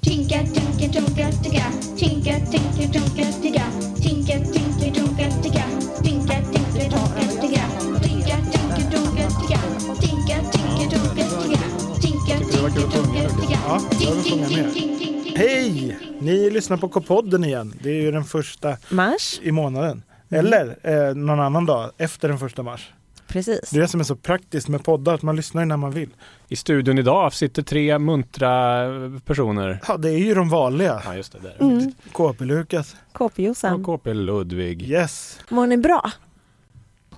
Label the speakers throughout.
Speaker 1: Tinka, tinka, tonka, ticka. Tinka, tinka, tonka, ticka. Tinka, tinka, tonka, ticka. Tinka, tinka, tonka, ticka. Tinka, tinka, tonka, ticka. Tinka, tinka, tonka, ticka. Tinka, tinka, tonka, ticka.
Speaker 2: Ja, jag vill sjunga
Speaker 1: Ting, ting,
Speaker 2: med.
Speaker 1: ting, ting.
Speaker 2: Hej! Ni lyssnar på K-podden igen. Det är ju den första
Speaker 3: Mars,
Speaker 2: i månaden.
Speaker 3: Mm.
Speaker 2: Eller eh, någon annan dag efter den första mars.
Speaker 3: precis.
Speaker 2: Det är det som är så praktiskt med poddar, att man lyssnar ju när man vill.
Speaker 4: I studion idag sitter tre muntra eh, personer.
Speaker 2: Ja, det är ju de vanliga.
Speaker 4: Ja, just det. Där.
Speaker 3: Mm.
Speaker 2: KP-Lukas.
Speaker 4: Och
Speaker 3: KP-Jossan.
Speaker 4: KP Ludvig.
Speaker 2: Yes.
Speaker 3: Mår ni bra?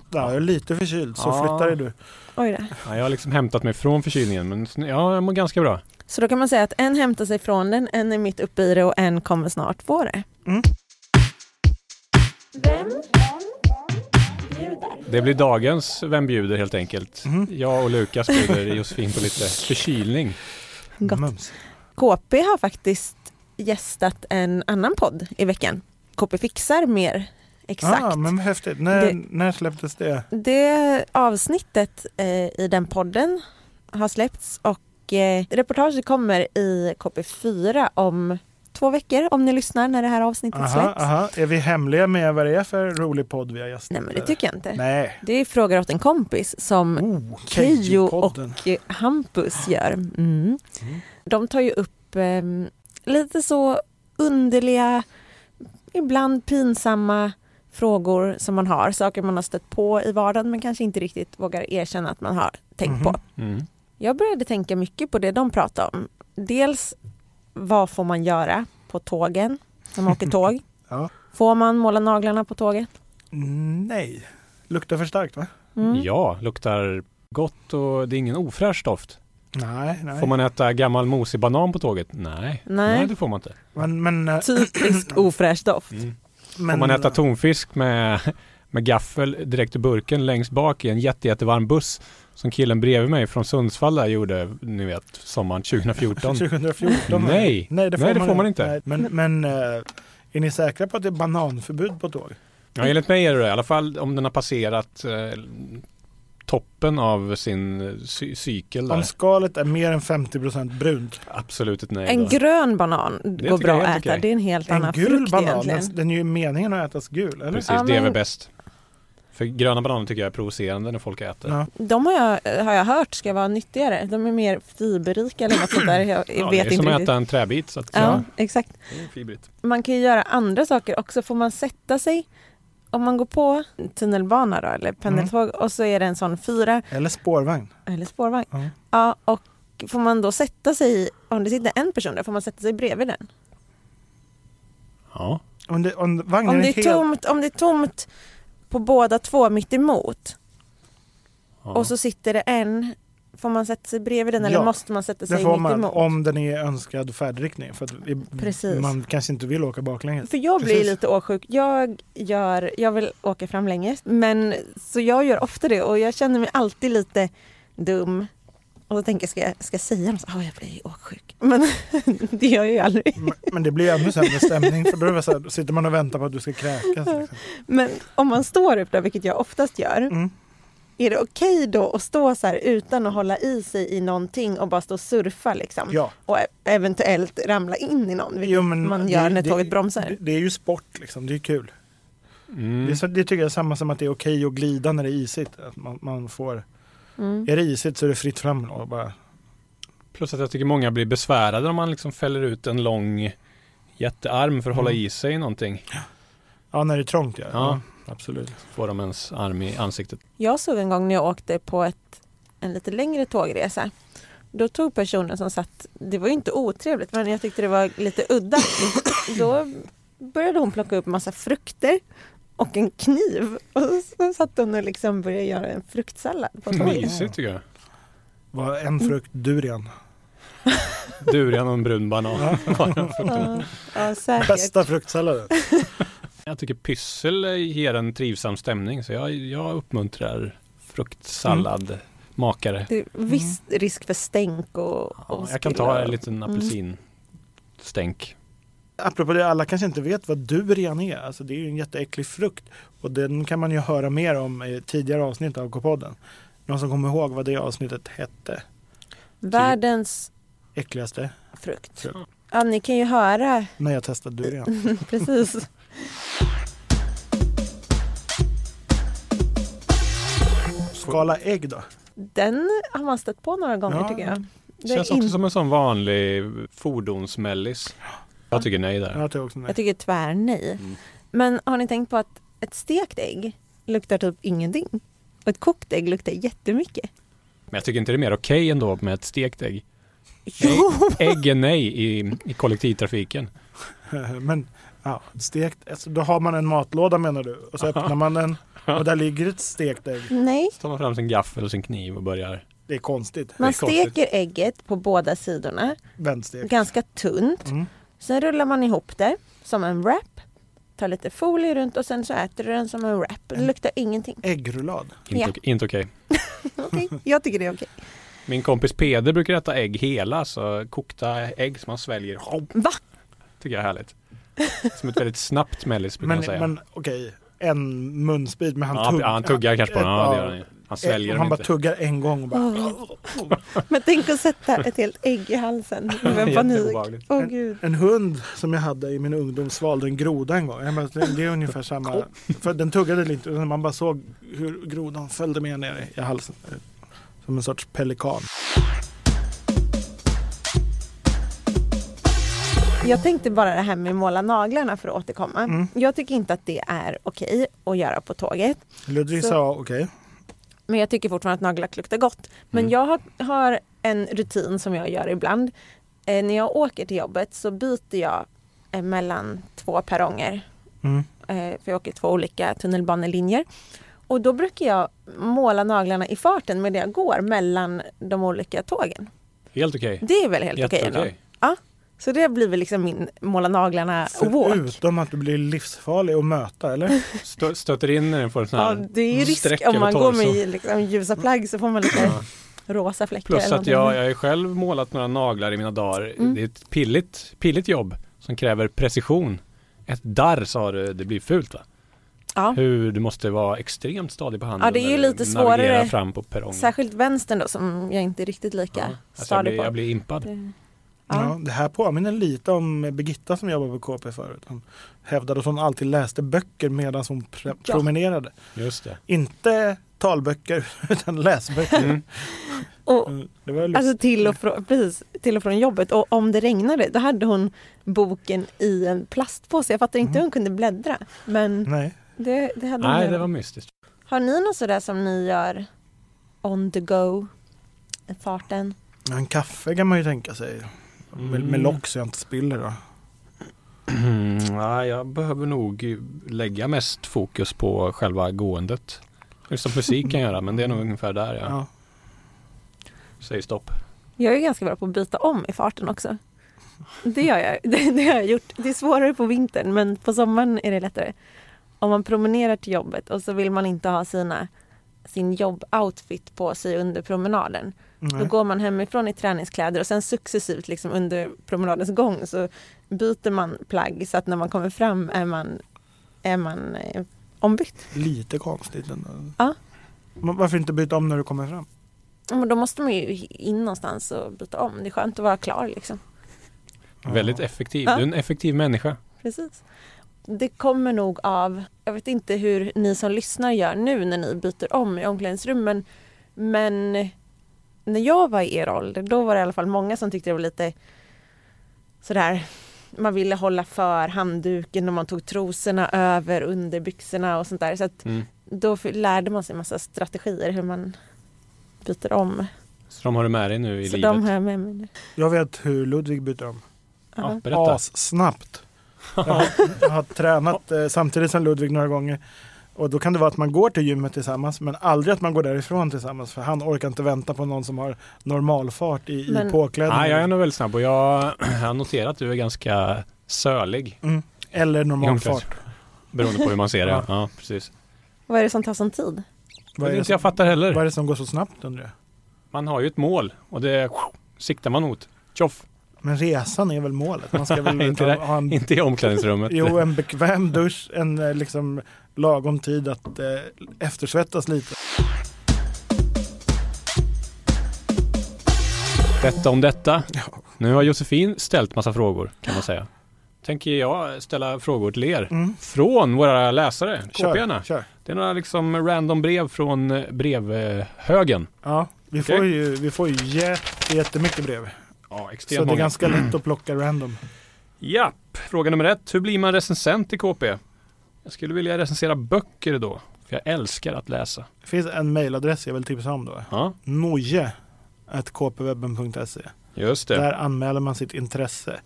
Speaker 2: Ja, jag är lite förkyld, så
Speaker 4: Ja.
Speaker 2: flyttar dig du.
Speaker 3: Oj då.
Speaker 4: Ja, jag har liksom hämtat mig från förkylningen, men sn- ja, jag mår ganska bra.
Speaker 3: Så då kan man säga att en hämtar sig från den, en är mitt uppe i det och en kommer snart på det.
Speaker 4: Det blir dagens Vem bjuder helt enkelt. Jag och Lukas bjuder Josefin på lite förkylning.
Speaker 3: Gott.
Speaker 2: Mums.
Speaker 3: KP har faktiskt gästat en annan podd i veckan. KP fixar mer exakt.
Speaker 2: Ah, men vad häftigt. När,
Speaker 3: Det-
Speaker 2: när släpptes det?
Speaker 3: Det avsnittet eh, i den podden har släppts och eh, reportaget kommer i KP4 om två veckor om ni lyssnar när det här avsnittet
Speaker 2: Aha,
Speaker 3: släpps.
Speaker 2: aha. Är vi hemliga med vad det är för rolig podd vi har gästat?
Speaker 3: Nej men det
Speaker 2: eller?
Speaker 3: tycker jag inte.
Speaker 2: Nej.
Speaker 3: Det är frågor åt en kompis som
Speaker 2: Oh,
Speaker 3: Keyyo och
Speaker 2: Keyyo-podden.
Speaker 3: Hampus gör. Mm. De tar ju upp eh, lite så underliga, ibland pinsamma frågor som man har. Saker man har stött på i vardagen men kanske inte riktigt vågar erkänna att man har tänkt
Speaker 2: Mhm.
Speaker 3: på.
Speaker 4: Mm.
Speaker 3: Jag började tänka mycket på det de pratade om. Dels vad får man göra på tågen när man åker tåg?
Speaker 2: Ja.
Speaker 3: Får man måla naglarna på tåget?
Speaker 2: Nej. Luktar för starkt va?
Speaker 3: Mm.
Speaker 4: Ja, luktar gott och det är ingen ofräsch doft.
Speaker 2: Nej, nej.
Speaker 4: Får man äta gammal mosig banan på tåget? Nej,
Speaker 3: Nej.
Speaker 4: det får man inte. Mm.
Speaker 2: Men, men, eh,
Speaker 3: Typisk ofräsch doft.
Speaker 2: men,
Speaker 4: Får man äta tonfisk med, med gaffel direkt i burken längst bak i en jätte, jättevarm buss som killen bredvid mig från Sundsvall där gjorde, ni vet, sommaren 2014.
Speaker 2: 2014?
Speaker 4: Nej.
Speaker 2: nej det får,
Speaker 4: Nej, det
Speaker 2: man,
Speaker 4: får man inte.
Speaker 2: Nej, Men, men eh, är ni säkra på att det är bananförbud på tåg?
Speaker 4: Ja, enligt mig är det det. I alla fall om den har passerat eh, toppen av sin eh, cy- cykel där.
Speaker 2: Om skalet är mer än 50 brunt.
Speaker 4: Absolut ett nej.
Speaker 3: En
Speaker 4: då.
Speaker 3: grön banan
Speaker 4: tycker
Speaker 3: går bra
Speaker 4: jag är
Speaker 3: att
Speaker 4: helt
Speaker 3: äta.
Speaker 4: okej.
Speaker 3: Det är en helt
Speaker 2: En
Speaker 3: annan
Speaker 2: gul
Speaker 3: frukt
Speaker 2: banan, den,
Speaker 3: egentligen.
Speaker 2: den är ju meningen att ätas gul, eller?
Speaker 4: Precis,
Speaker 3: Ja,
Speaker 4: det är
Speaker 3: men-
Speaker 4: väl bäst. För gröna bananer tycker jag är provocerande när folk äter.
Speaker 2: Ja.
Speaker 3: De har jag, har jag hört ska vara nyttigare. De är mer fiberrika eller något sånt där. Jag
Speaker 4: Ja,
Speaker 3: vet
Speaker 4: det är som
Speaker 3: inte
Speaker 4: att
Speaker 3: riktigt.
Speaker 4: äta en träbit. Så att,
Speaker 3: Ja, exakt.
Speaker 4: det är fibrigt.
Speaker 3: Man kan ju göra andra saker också. Får man sätta sig om man går på tunnelbana då, eller pendeltåg och så är det en sån fyra
Speaker 2: Eller spårvagn.
Speaker 3: eller spårvagn.
Speaker 2: Mm. Ja.
Speaker 3: Ja, och får man då sätta sig, om det sitter en person där, får man sätta sig bredvid den?
Speaker 4: Ja.
Speaker 2: Om, det, om vagnen
Speaker 3: Om det
Speaker 2: är
Speaker 3: är
Speaker 2: helt...
Speaker 3: tomt, om det är tomt på båda två mitt emot
Speaker 4: ja.
Speaker 3: och så sitter det en, får man sätta sig bredvid den eller
Speaker 2: Ja,
Speaker 3: måste man sätta
Speaker 2: Det
Speaker 3: sig
Speaker 2: får
Speaker 3: mitt
Speaker 2: man
Speaker 3: emot?
Speaker 2: om den är i önskad färdriktning. För att i-
Speaker 3: Precis.
Speaker 2: man kanske inte vill åka baklänges.
Speaker 3: För jag blir
Speaker 2: Precis.
Speaker 3: lite åksjuk. Jag, gör, jag vill åka framlänges, men så jag gör ofta det och jag känner mig alltid lite dum. Och då tänker jag, ska jag, ska jag säga något? Ja, jag blir ju åksjuk. Men det gör jag ju aldrig.
Speaker 2: Men- Men det blir ännu sämre stämning för då är det så här, då sitter man och väntar på att du ska kräkas. Liksom.
Speaker 3: Men om man står upp där, vilket jag oftast gör,
Speaker 2: Mm.
Speaker 3: är det okej då att stå så här utan att hålla i sig i någonting och bara stå och surfa liksom?
Speaker 2: Ja.
Speaker 3: Och e- eventuellt ramla in i någon, vilket
Speaker 2: Jo, men
Speaker 3: man gör
Speaker 2: det-
Speaker 3: när
Speaker 2: det-
Speaker 3: tåget bromsar.
Speaker 2: Det, det är ju sport liksom, det är kul.
Speaker 4: Mm.
Speaker 2: Det, är så, det tycker jag är samma som att det är okej att glida när det är isigt. Att man, man får,
Speaker 3: Mm.
Speaker 2: är det isigt så är det fritt fram och bara
Speaker 4: Plus att jag tycker många blir besvärade om man liksom fäller ut en lång jättearm för att hålla
Speaker 2: Mm.
Speaker 4: i sig i någonting.
Speaker 2: Ja, när det är trångt ja.
Speaker 4: Ja.
Speaker 2: absolut.
Speaker 4: Får de ens arm i ansiktet.
Speaker 3: Jag såg en gång när jag åkte på ett, en lite längre tågresa. Då tog personen som satt, det var ju inte otrevligt men jag tyckte det var lite udda. Då började hon plocka upp massa frukter och en kniv och så satt hon och liksom började göra en fruktsallad på tåget.
Speaker 4: Mysigt tycker jag.
Speaker 2: Var en frukt durian.
Speaker 4: Durian och en brun banan.
Speaker 3: Ja, ja, säkert.
Speaker 2: Bästa fruktsalladen.
Speaker 4: jag tycker pyssel ger en trivsam stämning så jag, jag uppmuntrar fruktsallad.
Speaker 3: Mm.
Speaker 4: Makare.
Speaker 3: Det är viss risk för stänk och,
Speaker 4: Ja,
Speaker 3: och
Speaker 4: jag kan ta en
Speaker 3: Mm.
Speaker 4: liten apelsinstänk.
Speaker 2: Apropå det, alla kanske inte vet vad durian är. Alltså, det är ju en jätteäcklig frukt. Och den kan man ju höra mer om i tidigare avsnitt av K-podden. Någon som kommer ihåg vad det avsnittet hette?
Speaker 3: Världens
Speaker 2: Äckligaste?
Speaker 3: frukt.
Speaker 2: Frukt.
Speaker 3: Ja, ni kan ju höra
Speaker 2: när jag testade durian.
Speaker 3: precis.
Speaker 2: Skala ägg då?
Speaker 3: Den har man stött på några gånger
Speaker 2: Ja.
Speaker 3: tycker jag. Det är
Speaker 4: Känns
Speaker 3: in-
Speaker 4: också som en sån vanlig fordonsmellis. Jag tycker nej där.
Speaker 2: Jag tar också
Speaker 3: Jag
Speaker 2: nej.
Speaker 3: tycker tvär nej. Men har ni tänkt på att ett stekt ägg luktar typ ingenting? Och ett kokt ägg luktar jättemycket.
Speaker 4: Men jag tycker inte det är mer okej ändå med ett stekt ägg. Ägg är nej i, i kollektivtrafiken.
Speaker 2: Eh, Men ja, stekt, alltså, då har man en matlåda menar du och så öppnar man den och där ligger ett stekt ägg.
Speaker 3: Nej,
Speaker 4: Så tar man fram sin gaffel och sin kniv och börjar.
Speaker 2: Det är konstigt.
Speaker 3: man
Speaker 4: konstigt.
Speaker 3: steker ägget på båda sidorna
Speaker 2: Vändstek.
Speaker 3: ganska tunt.
Speaker 2: Mm.
Speaker 3: Sen rullar man ihop det som en wrap. Tar lite folie runt och sen så äter du den som en wrap. Det luktar ingenting.
Speaker 2: Äggrullad.
Speaker 4: Inte,
Speaker 3: Ja.
Speaker 4: ok- inte okej.
Speaker 3: Okej, jag tycker det är okej.
Speaker 4: Min kompis Peder brukar äta ägg hela, så kokta ägg som man sväljer.
Speaker 3: Va?
Speaker 4: Tycker jag är härligt. Som ett väldigt snabbt mellis brukar
Speaker 2: Men,
Speaker 4: man säga.
Speaker 2: men okej, en munsbit men han,
Speaker 4: ja,
Speaker 2: tugg,
Speaker 4: han tuggar kanske på den. Ja, det gör han ju. Han sväljer
Speaker 2: och
Speaker 4: den
Speaker 2: han bara
Speaker 4: inte.
Speaker 2: tuggar en gång och bara,
Speaker 3: Men tänk att sätta ett helt ägg i halsen. Med panik.
Speaker 4: Jätteobehagligt.
Speaker 3: Åh gud.
Speaker 2: En hund som jag hade i min ungdom svalde en groda en gång. Jag bara, det det är ungefär samma. För den tuggade lite utan man bara såg hur grodan följde med ner i halsen. Som en sorts pelikan.
Speaker 3: Jag tänkte bara det här med måla naglarna för att återkomma. Jag tycker inte att det är okej att göra på tåget.
Speaker 2: Ludvig
Speaker 3: Så-
Speaker 2: sa okej.
Speaker 3: Men jag tycker fortfarande att nagellack luktar gott. Men jag har, har en rutin som jag gör ibland. Eh, när jag åker till jobbet så byter jag eh, mellan två perronger.
Speaker 2: Mm.
Speaker 3: Eh, för jag åker två olika tunnelbanelinjer. Och då brukar jag måla naglarna i farten medan jag går mellan de olika tågen.
Speaker 4: Helt okej.
Speaker 3: Det är väl helt okej
Speaker 4: Jätteokej.
Speaker 3: ändå? Ja. Så det blir väl liksom min måla naglarna walk.
Speaker 2: Förutom att du blir livsfarlig att möta eller?
Speaker 4: Stö, stöter in när den får en sån
Speaker 3: Ja,
Speaker 4: här.
Speaker 3: det är ju
Speaker 4: sträck
Speaker 3: risk om man
Speaker 4: över
Speaker 3: går
Speaker 4: torso.
Speaker 3: med liksom, ljusa plagg så får man lite rosa fläckar.
Speaker 4: Plus
Speaker 3: eller
Speaker 4: att jag,
Speaker 3: någonting.
Speaker 4: jag har ju själv målat några naglar i mina dagar.
Speaker 3: Mm.
Speaker 4: Det är ett pilligt, pilligt jobb som kräver precision. Ett darr sa du, det blir fult va?
Speaker 3: ja.
Speaker 4: Hur du måste vara extremt stadig på handen.
Speaker 3: Ja, det är ju
Speaker 4: när du
Speaker 3: lite
Speaker 4: navigerar
Speaker 3: svårare.
Speaker 4: fram på perrongen.
Speaker 3: Särskilt vänstern då som jag inte är riktigt lika
Speaker 4: Ja. Alltså, jag,
Speaker 3: stadig
Speaker 4: blir,
Speaker 3: på. Mm.
Speaker 4: jag blir impad.
Speaker 3: Det-
Speaker 2: Ja.
Speaker 3: Ja.
Speaker 2: det här påminner lite om Birgitta som jobbade på KP förut. Hon hävdade att hon alltid läste böcker medan hon pre-
Speaker 3: Ja.
Speaker 2: promenerade.
Speaker 4: Just det.
Speaker 2: Inte talböcker utan läsböcker.
Speaker 4: Mm.
Speaker 3: Och,
Speaker 2: Mm, Det var lyx.
Speaker 3: alltså till och, från, precis, till och från jobbet och om det regnade då hade hon boken i en plastpåse. Jag fattar inte hur hon kunde bläddra men
Speaker 2: Nej.
Speaker 3: det, det hade hon
Speaker 4: Mm. Nej, det
Speaker 3: gjort.
Speaker 4: var mystiskt.
Speaker 3: Har ni något sådär som ni gör on the go? I farten?
Speaker 2: Ja, En kaffe kan man ju tänka sig. Med, med
Speaker 4: Mm.
Speaker 2: lock så jag inte spiller då.
Speaker 4: ja, Mm, jag behöver nog lägga mest fokus på själva gåendet. Just som musik kan göra, men det är nog ungefär där jag
Speaker 2: Ja.
Speaker 4: säger stopp.
Speaker 3: Jag är ganska bra på att byta om i farten också. Det gör jag. Det, det har jag gjort. Det är svårare på vintern men på sommaren är det lättare. Om man promenerar till jobbet och så vill man inte ha sina, sin jobboutfit på sig under promenaden. Då
Speaker 2: Nej.
Speaker 3: går man hemifrån i träningskläder och sen successivt liksom under promenadens gång så byter man plagg så att när man kommer fram är man, är man eh, ombytt.
Speaker 2: Lite konstigt ändå.
Speaker 3: Ja.
Speaker 2: Men varför inte byta om när du kommer fram?
Speaker 3: Ja, Men då måste man ju in någonstans och byta om. Det är skönt att vara klar liksom.
Speaker 2: Ja.
Speaker 4: Väldigt effektiv.
Speaker 3: Ja.
Speaker 4: Du är en effektiv människa.
Speaker 3: Precis. Det kommer nog av, jag vet inte hur ni som lyssnar gör nu när ni byter om i omklädningsrummen, men när jag var i er ålder, då var det i alla fall många som tyckte det var lite sådär, man ville hålla för handduken och man tog trosorna över under byxorna och sånt där. Så att
Speaker 4: Mm.
Speaker 3: då f- lärde man sig massa strategier hur man byter om.
Speaker 4: Så de har du med dig nu i
Speaker 3: Så
Speaker 4: livet.
Speaker 3: de har jag med mig nu.
Speaker 2: Jag vet hur Ludvig byter om.
Speaker 4: Ja,
Speaker 3: Ja.
Speaker 4: berätta.
Speaker 2: Assnabbt. Jag har, jag har tränat eh, samtidigt som Ludvig några gånger. Och då kan det vara att man går till gymmet tillsammans men aldrig att man går därifrån tillsammans för han orkar inte vänta på någon som har normalfart i, i
Speaker 3: Men-
Speaker 2: påklädning.
Speaker 4: Nej, jag är nog väldigt snabb och jag jag har noterat att du är ganska sölig.
Speaker 2: mm. Eller normalfart.
Speaker 4: Beroende på hur man ser det.
Speaker 2: Ja.
Speaker 4: Ja, ja precis.
Speaker 3: Vad är det som tar sån tid?
Speaker 4: Vad
Speaker 2: Vad är, det
Speaker 4: inte
Speaker 2: som,
Speaker 4: jag fattar
Speaker 2: vad är
Speaker 4: heller.
Speaker 2: det som går så snabbt undrar jag?
Speaker 4: Man har ju ett mål och det siktar man mot. Tjoff!
Speaker 2: Men resan är väl målet? Man ska väl
Speaker 4: Inte
Speaker 2: ha,
Speaker 4: det.
Speaker 2: ha en
Speaker 4: Inte i omklädningsrummet.
Speaker 2: Mm. Jo, en bekväm dusch, en eh, liksom lagom tid att eh, eftersvettas lite.
Speaker 4: Detta om detta. Nu har Josefin ställt massa frågor kan man säga. Tänker jag ställa frågor till er.
Speaker 2: Mm.
Speaker 4: Från våra läsare,
Speaker 2: Kör,
Speaker 4: KP'na.
Speaker 2: kör.
Speaker 4: Det är några liksom random brev från eh, brevhögen.
Speaker 2: Ja, vi
Speaker 4: Okej.
Speaker 2: får ju, vi får ju jätte, jättemycket brev.
Speaker 4: Ja,
Speaker 2: Så det
Speaker 4: extremt
Speaker 2: är
Speaker 4: många.
Speaker 2: ganska lätt
Speaker 4: Mm.
Speaker 2: att plocka random.
Speaker 4: Japp, fråga nummer ett. Hur blir man recensent i KP? Jag skulle vilja recensera böcker då. För jag älskar att läsa.
Speaker 2: Det finns en mejladress jag vill tipsa om då.
Speaker 4: Ja,
Speaker 2: noje.kpwebben.se
Speaker 4: just det.
Speaker 2: Där anmäler man sitt intresse.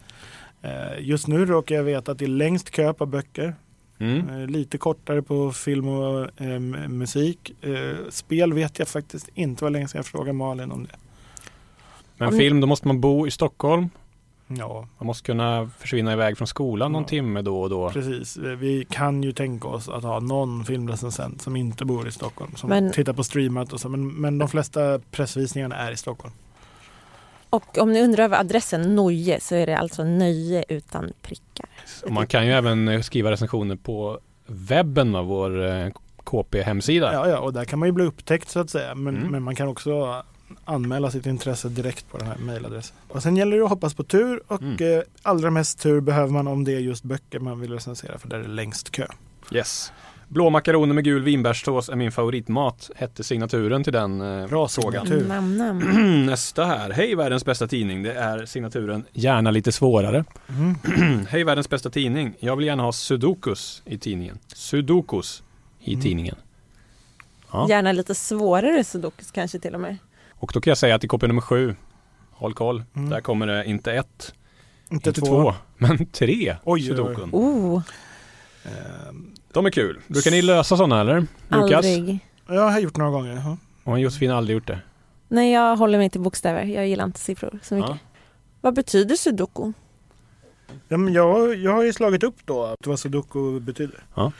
Speaker 2: Eh, Just nu råkar jag veta att det är längst kö på böcker.
Speaker 4: Mm.
Speaker 2: Eh, Lite kortare på film och eh, m- musik. Eh, Spel vet jag faktiskt inte. var länge sedan jag frågade Malin om det.
Speaker 4: Men film, då måste man bo i Stockholm.
Speaker 2: Ja,
Speaker 4: Man måste kunna försvinna iväg från skolan någon
Speaker 2: Ja.
Speaker 4: timme då och då.
Speaker 2: precis. Eh, Vi kan ju tänka oss att ha någon filmrecensent som inte bor i Stockholm. Som
Speaker 3: Men-
Speaker 2: tittar på streamat och så. Men, men de flesta pressvisningarna är i Stockholm.
Speaker 3: Och om ni undrar över adressen Noje så är det alltså nöje utan prickar.
Speaker 4: Och man kan ju även eh, skriva recensioner på webben, va, vår eh, KP-hemsida.
Speaker 2: Ja, ja, och där kan man ju bli upptäckt så att säga. Men,
Speaker 4: Mm.
Speaker 2: men man kan också anmäla sitt intresse direkt på den här mejladressen. Och sen gäller det att hoppas på tur och
Speaker 4: Mm.
Speaker 2: eh, allra mest tur behöver man om det är just böcker man vill recensera för där är det längst kö.
Speaker 4: Yes. Blå makaroner med gul vinbärssås är min favoritmat, hette signaturen till den eh,
Speaker 2: Bra
Speaker 4: frågan.
Speaker 2: Tur.
Speaker 3: Namn, namn.
Speaker 4: Nästa här. Hej världens bästa tidning. Det är signaturen Gärna lite svårare.
Speaker 2: Mm.
Speaker 4: Hej världens bästa tidning. Jag vill gärna ha sudokus i tidningen. Sudokus i
Speaker 2: Mm.
Speaker 4: tidningen. Ja.
Speaker 3: Gärna lite svårare sudokus kanske till och med.
Speaker 4: Och då kan jag säga att i KP nummer sju, håll koll,
Speaker 2: Mm.
Speaker 4: där kommer det inte ett,
Speaker 2: Inte
Speaker 4: inte
Speaker 2: två.
Speaker 4: två, men tre
Speaker 2: Oj,
Speaker 4: sudokun.
Speaker 3: Oh,
Speaker 2: Ehm,
Speaker 4: De är kul. Brukar ni lösa sådana eller? Lukas?
Speaker 3: aldrig.
Speaker 2: jag har gjort några gånger. ja.
Speaker 4: Och Josefin har aldrig gjort det.
Speaker 3: Nej, jag håller mig till bokstäver. Jag gillar inte siffror så mycket.
Speaker 4: Ja.
Speaker 3: Vad betyder sudoku?
Speaker 2: Ja, men jag, jag har ju slagit upp då vad sudoku betyder.
Speaker 4: Ja.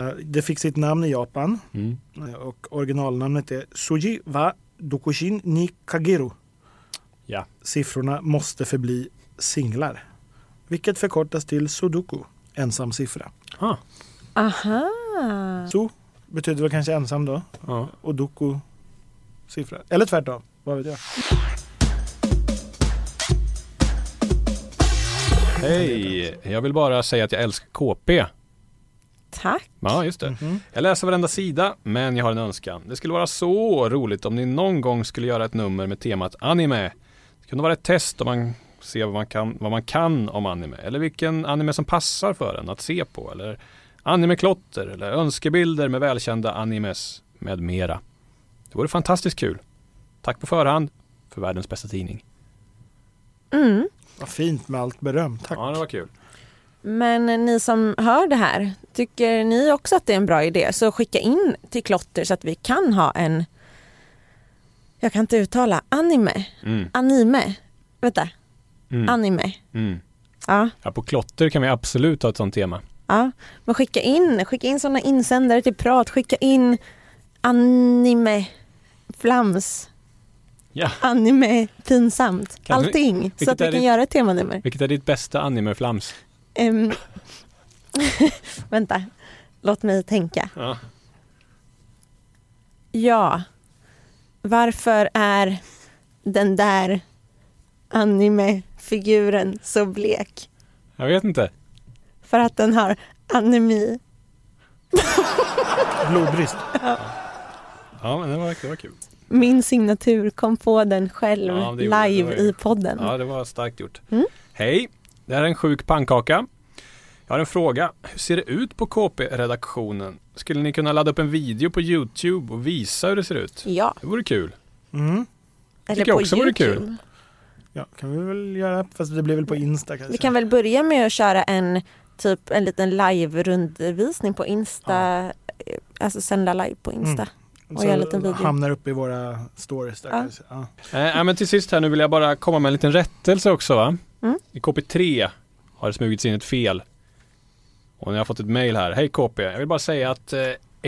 Speaker 2: Eh, Det fick sitt namn i Japan
Speaker 4: Mm.
Speaker 2: eh, och originalnamnet är Suji wa Dokushin ni Kageru.
Speaker 4: Ja.
Speaker 2: Siffrorna måste förbli singlar, vilket förkortas till sudoku, ensam siffra.
Speaker 4: Ah.
Speaker 3: Aha!
Speaker 2: Su betyder väl kanske ensam då
Speaker 4: Ja.
Speaker 2: och doku siffra. Eller tvärtom, vad vet jag.
Speaker 4: Hej! Jag vill bara säga att jag älskar KP.
Speaker 3: Tack!
Speaker 4: Ja, just det.
Speaker 2: Mhm.
Speaker 4: Jag läser varenda sida, men jag har en önskan. Det skulle vara så roligt om ni någon gång skulle göra ett nummer med temat anime. Det kunde vara ett test om man ser vad man kan, vad man kan om anime. Eller vilken anime som passar för en att se på. Eller animeklotter, eller önskebilder med välkända animes med mera. Det vore fantastiskt kul. Tack på förhand för världens bästa tidning.
Speaker 3: Mm.
Speaker 2: Vad fint med allt beröm, tack.
Speaker 4: Ja, det var kul.
Speaker 3: Men ni som hör det här, tycker ni också att det är en bra idé så skicka in till Klotter så att vi kan ha en jag kan inte uttala anime,
Speaker 4: Mm,
Speaker 3: anime, vänta,
Speaker 4: mm,
Speaker 3: anime.
Speaker 4: mm.
Speaker 3: Ja,
Speaker 4: Ja, på klotter kan vi absolut ha ett sånt tema.
Speaker 3: ja. Men skicka in, skicka in sådana insändare till prat, skicka in anime, flams,
Speaker 4: Ja.
Speaker 3: anime, pinsamt,
Speaker 4: Kan du-
Speaker 3: allting. Så att vi
Speaker 4: är
Speaker 3: kan
Speaker 4: ditt-
Speaker 3: göra ett temanummer.
Speaker 4: Vilket är ditt bästa anime-flams?
Speaker 3: Ehm, vänta, låt mig tänka.
Speaker 4: Ja.
Speaker 3: Ja, varför är den där anime-figuren så blek?
Speaker 4: Jag vet inte.
Speaker 3: För att den har anemi.
Speaker 2: Blodbrist.
Speaker 4: Ja, men det var, det var kul.
Speaker 3: Min signatur kom på den själv
Speaker 4: Ja, det gjorde- det
Speaker 3: live
Speaker 4: var ju-
Speaker 3: i podden.
Speaker 4: Ja, det var starkt gjort.
Speaker 3: Mm.
Speaker 4: Hej, det här är en sjuk pannkaka. Jag har en fråga. Hur ser det ut på KP-redaktionen? Skulle ni kunna ladda upp en video på YouTube och visa hur det ser ut?
Speaker 3: Ja,
Speaker 4: Det vore kul.
Speaker 2: Mm.
Speaker 3: eller
Speaker 4: tycker jag
Speaker 3: på
Speaker 4: också
Speaker 3: YouTube.
Speaker 4: vore kul.
Speaker 2: Ja, kan vi väl göra, fast det blir väl på Insta kanske.
Speaker 3: Vi kan väl börja med att köra en typ en liten live-rundvisning på Insta. Alltså sända live på Insta.
Speaker 4: Mm,
Speaker 3: och göra en liten video.
Speaker 2: hamnar upp i våra stories där
Speaker 3: Ja.
Speaker 2: kanske. Ja.
Speaker 4: Eh, eh, men till sist här nu vill jag bara komma med en liten rättelse också va?
Speaker 3: Mm.
Speaker 4: I KP3 har det smugits in ett fel. Och ni har fått ett mail här. Hej KP, jag vill bara säga att eh,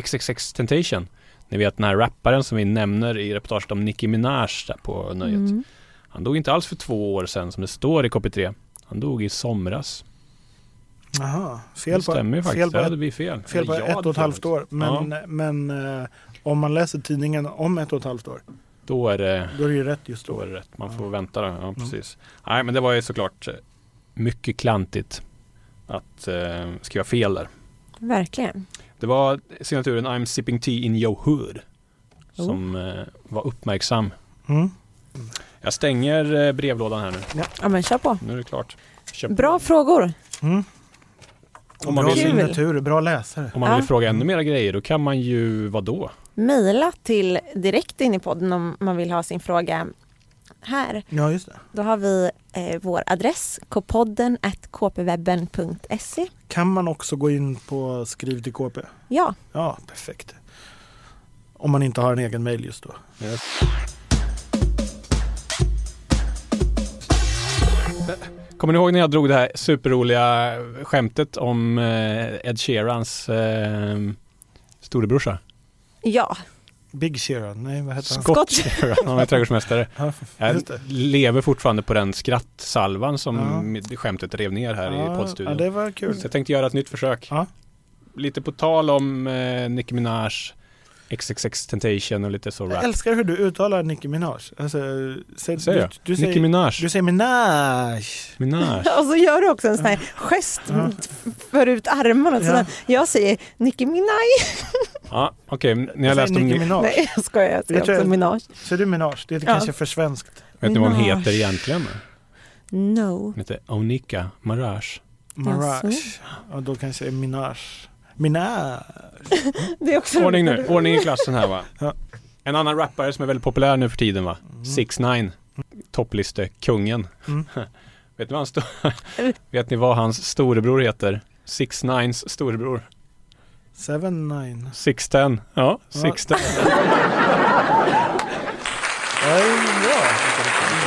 Speaker 4: XXX Temptation, ni vet den här rapparen som vi nämner i reportaget om Nicki Minaj där på Nöjet.
Speaker 3: Mm.
Speaker 4: Han dog inte alls för två år sedan som det står i KP3. Han dog i somras.
Speaker 2: Jaha,
Speaker 4: det
Speaker 2: fel på,
Speaker 4: stämmer ju faktiskt.
Speaker 2: fel på
Speaker 4: Där
Speaker 2: ett
Speaker 4: hade vi fel.
Speaker 2: Fel på
Speaker 4: Eller jag
Speaker 2: ett och
Speaker 4: hade
Speaker 2: ett halvt
Speaker 4: fel.
Speaker 2: år. Men, men eh, om man läser tidningen om ett och ett halvt år
Speaker 4: Då är det
Speaker 2: Då är det ju rätt just
Speaker 4: Då är
Speaker 2: då. Mm,
Speaker 4: det rätt. Man
Speaker 2: Ja. Mm.
Speaker 4: får vänta då. Ja, precis. Nej, men det var ju såklart eh, mycket klantigt att eh, skriva fel där.
Speaker 3: Verkligen.
Speaker 4: Det var signaturen I'm sipping tea in your hood
Speaker 3: Oh.
Speaker 4: som eh, var uppmärksam.
Speaker 2: Mm.
Speaker 4: Jag stänger eh, brevlådan här nu.
Speaker 3: Ja men kör på.
Speaker 4: Nu är det klart. Köp-
Speaker 3: Bra frågor.
Speaker 2: Mm.
Speaker 4: Om man
Speaker 2: bra
Speaker 3: vill-
Speaker 2: signatur, bra läsare.
Speaker 4: Om man vill
Speaker 3: Ja.
Speaker 4: fråga ännu mera grejer då kan man ju vadå?
Speaker 3: Maila till direkt in i podden om man vill ha sin fråga här.
Speaker 2: Ja, just det.
Speaker 3: Då har vi eh, vår adress kpodden kpwebben.se.
Speaker 2: Kan man också gå in på skriv till KP?
Speaker 3: Ja,
Speaker 2: Ja, perfekt. Om man inte har en egen mail just då.
Speaker 4: Kommer ni ihåg när jag drog det här superroliga skämtet om eh, Ed Sheerans eh, storebrorsa?
Speaker 3: ja.
Speaker 2: Big Sheeran, nej vad heter han?
Speaker 4: Scott Sheeran, han var trädgårdsmästare.
Speaker 2: Ja,
Speaker 4: Jag
Speaker 2: just det.
Speaker 4: lever fortfarande på den skrattsalvan som
Speaker 2: Ja.
Speaker 4: mitt skämtet rev ner här
Speaker 2: ja,
Speaker 4: i poddstudion.
Speaker 2: Ja, det var kul.
Speaker 4: Så jag tänkte göra ett nytt försök.
Speaker 2: Ja.
Speaker 4: Lite på tal om eh, Nicki Minaj, XXX Tentation och lite så
Speaker 2: Jag
Speaker 4: rap.
Speaker 2: älskar hur du uttalar Nicki Minaj. Alltså, säg,
Speaker 4: Säger jag?
Speaker 2: du, du,
Speaker 4: Nicki
Speaker 2: säger,
Speaker 4: Minaj.
Speaker 2: du säger Minaj.
Speaker 4: Minaj.
Speaker 3: Och så gör du också en sån här gest,
Speaker 2: Ja.
Speaker 3: för ut armarna. och
Speaker 2: Ja.
Speaker 3: sådär. Jag säger Nicki Minaj.
Speaker 4: Ja, okej, när jag
Speaker 2: Jag
Speaker 4: läste
Speaker 2: säger
Speaker 4: om...
Speaker 2: Nicki
Speaker 4: Vet
Speaker 2: Minaj.
Speaker 3: Nej, jag skojar. Jag
Speaker 2: Jag tror
Speaker 3: säger också
Speaker 2: jag-
Speaker 3: Minaj.
Speaker 2: Säger du Minaj? Det är
Speaker 3: Ja.
Speaker 2: kanske för svenskt.
Speaker 4: ni vad hon
Speaker 3: Minaj.
Speaker 4: heter egentligen?
Speaker 3: No.
Speaker 4: Hon heter Onika Maraj.
Speaker 2: Mirage. Ja, då kanske det är Minaj. Minaj.
Speaker 3: Det är också
Speaker 4: Ordning nu, ordning i klassen här va.
Speaker 2: Ja.
Speaker 4: En annan rappare som är väldigt populär nu för tiden va? 6 9 Toppliste, kungen.
Speaker 2: Mm.
Speaker 4: Vet, ni vad hans sto- Vet ni vad hans storebror heter? 6 9 storebror.
Speaker 2: Seven nine.
Speaker 4: 610. Ja, 610.
Speaker 2: Ja, det är bra.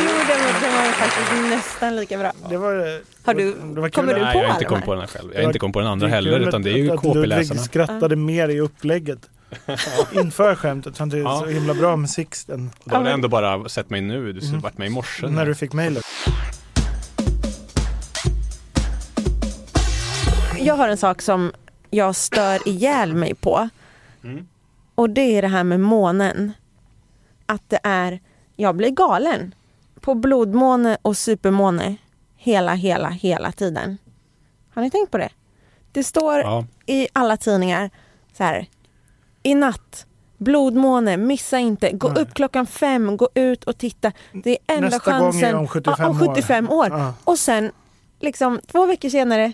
Speaker 3: Jo, den var, den var faktiskt nästan lika bra.
Speaker 2: Det var, det var-
Speaker 3: Har du-
Speaker 2: det var kul.
Speaker 3: kommer du
Speaker 4: Nej,
Speaker 3: på
Speaker 4: jag har
Speaker 3: alla
Speaker 4: inte kommit
Speaker 3: här?
Speaker 4: på den här själv. Jag
Speaker 2: Det
Speaker 4: har
Speaker 2: var-
Speaker 4: inte kommit på den
Speaker 2: Det
Speaker 4: andra
Speaker 2: är
Speaker 4: heller,
Speaker 2: kul
Speaker 4: utan det är
Speaker 2: att-
Speaker 4: ju
Speaker 2: att Ludvig
Speaker 4: KP-läsarna.
Speaker 2: skrattade mer i upplägget. Inför skämtet. Han tyckte det är så
Speaker 4: Ja.
Speaker 2: himla bra med Sixten.
Speaker 4: Då har du ändå bara sett mig nu, du
Speaker 2: Mm.
Speaker 4: vart med i morse.
Speaker 2: När du fick mejlet.
Speaker 3: Jag har en sak som jag stör ihjäl mig på.
Speaker 4: Mm.
Speaker 3: Och det är det här med månen. Att det är, jag blir galen. På blodmåne och supermåne. Hela, hela, hela tiden. Har ni tänkt på det? Det står
Speaker 4: Ja,
Speaker 3: i alla tidningar så här. I natt, blodmåne, missa inte. Gå
Speaker 2: Nej.
Speaker 3: upp klockan fem, gå ut och titta. Det är enda
Speaker 2: Nästa gång är
Speaker 3: chansen.
Speaker 2: om 75
Speaker 3: ja, om 75 år.
Speaker 2: Ja.
Speaker 3: Och sen, liksom två veckor senare,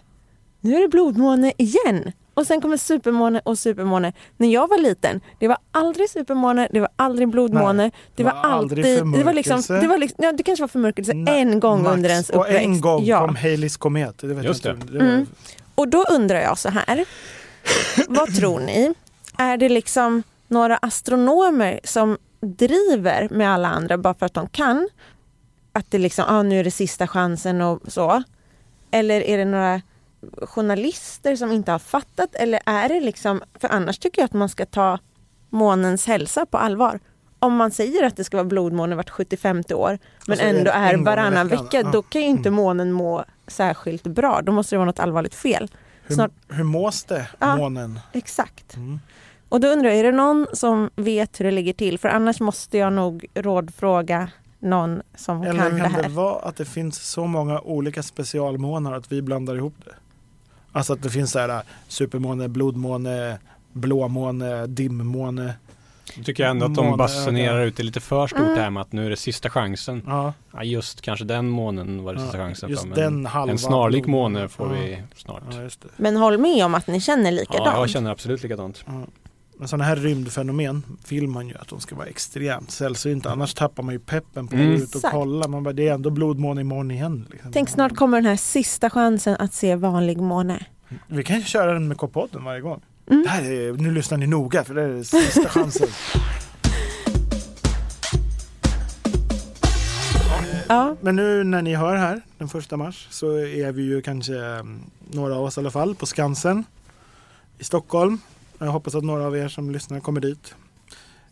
Speaker 3: nu är det blodmåne igen. Och sen kommer supermåne och supermåne. När jag var liten, det var aldrig supermåne, det var aldrig blodmåne.
Speaker 2: Nej,
Speaker 3: det var, alltid... Det var liksom,
Speaker 2: förmörkelse.
Speaker 3: det, var liksom, ja, det kanske var förmörkelse
Speaker 2: Nej,
Speaker 3: en gång
Speaker 2: Max.
Speaker 3: under ens
Speaker 2: Och
Speaker 3: uppväxt.
Speaker 2: en gång
Speaker 3: ja.
Speaker 2: kom Haleys komet. Det vet
Speaker 4: Just
Speaker 2: jag inte.
Speaker 4: det.
Speaker 2: Det var,
Speaker 3: Mm. Och då undrar jag så här. Vad tror ni? Är det liksom några astronomer som driver med alla andra bara för att de kan? Att det liksom, ah, nu är det sista chansen och så. Eller är det några journalister som inte har fattat? Eller är det liksom, för annars tycker jag att man ska ta månens hälsa på allvar. Om man säger att det ska vara blodmåne vart 75 år men
Speaker 2: Alltså, en-
Speaker 3: ändå
Speaker 2: en
Speaker 3: är
Speaker 2: gång i
Speaker 3: varannan
Speaker 2: veckan,
Speaker 3: vecka,
Speaker 2: ja.
Speaker 3: då kan ju inte månen må särskilt bra. Då måste det vara något allvarligt fel.
Speaker 2: hur,
Speaker 3: Snart-
Speaker 2: hur mås det,
Speaker 3: Ja.
Speaker 2: månen?
Speaker 3: Exakt.
Speaker 2: Mm.
Speaker 3: Och då undrar jag, är det någon som vet hur det ligger till? För annars måste jag nog rådfråga någon som
Speaker 2: Eller
Speaker 3: kan det
Speaker 2: kan det
Speaker 3: här.
Speaker 2: vara att det finns så många olika specialmånar att vi blandar ihop det? Alltså att det finns så här supermåne, blodmåne, blåmåne, dimmåne.
Speaker 4: då tycker jag ändå att
Speaker 2: Månen,
Speaker 4: de basunerar ut det lite för stort
Speaker 3: Mm.
Speaker 4: det här med att nu är det sista chansen.
Speaker 2: Ja,
Speaker 4: Ja, just kanske den månen var det sista
Speaker 2: ja,
Speaker 4: chansen.
Speaker 2: just
Speaker 4: för, men
Speaker 2: den halvan.
Speaker 4: en snarlik måne får vi snart.
Speaker 2: Ja, just det.
Speaker 3: Men håll med om att ni känner likadant.
Speaker 4: Ja, jag känner absolut likadant.
Speaker 2: Ja. Men sådana här rymdfenomen vill man ju att de ska vara extremt sällsynta. Annars tappar man ju peppen på att
Speaker 4: Mm.
Speaker 2: gå ut och
Speaker 3: Exakt.
Speaker 2: kolla. Man bara, det är ändå blodmåne imorgon igen. Liksom.
Speaker 3: Tänk snart kommer den här sista chansen att se vanlig måne.
Speaker 2: Vi kan ju köra den med K-podden varje gång.
Speaker 3: Mm.
Speaker 2: Det här är, nu lyssnar ni noga för det här är sista chansen.
Speaker 3: Ja,
Speaker 2: Men nu när ni hör här den första mars så är vi ju kanske eh, några av oss i alla fall på Skansen i Stockholm. Jag hoppas att några av er som lyssnar kommer dit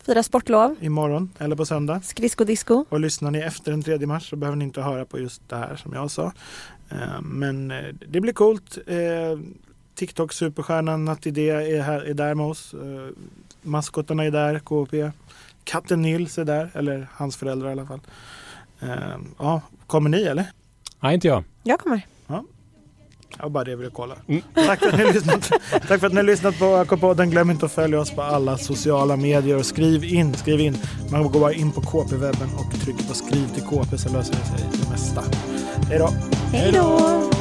Speaker 3: fira sportlov,
Speaker 2: imorgon eller på söndag.
Speaker 3: skridskodisco.
Speaker 2: Och lyssnar ni efter den 3 mars så behöver ni inte höra på just det här som jag sa. Eh, Men eh, det blir coolt. Eh, TikTok-superstjärnan Natidé är, här, är där med oss. Eh, Maskotarna är där, KP. Katten Nils är där, eller hans föräldrar i alla fall. Ehm, ja, kommer ni eller?
Speaker 4: Nej, inte jag.
Speaker 3: Jag kommer.
Speaker 2: Jag var bara det jag ville kolla.
Speaker 4: Mm.
Speaker 2: Tack, för att ni har lyssnat, tack för att ni har lyssnat på AK-podden. Glöm inte att följa oss på alla sociala medier. Och Skriv in, skriv in. Man går bara in på KP-webben och trycker på skriv till KP så löser det sig det mesta. Hej då!
Speaker 3: Hej då!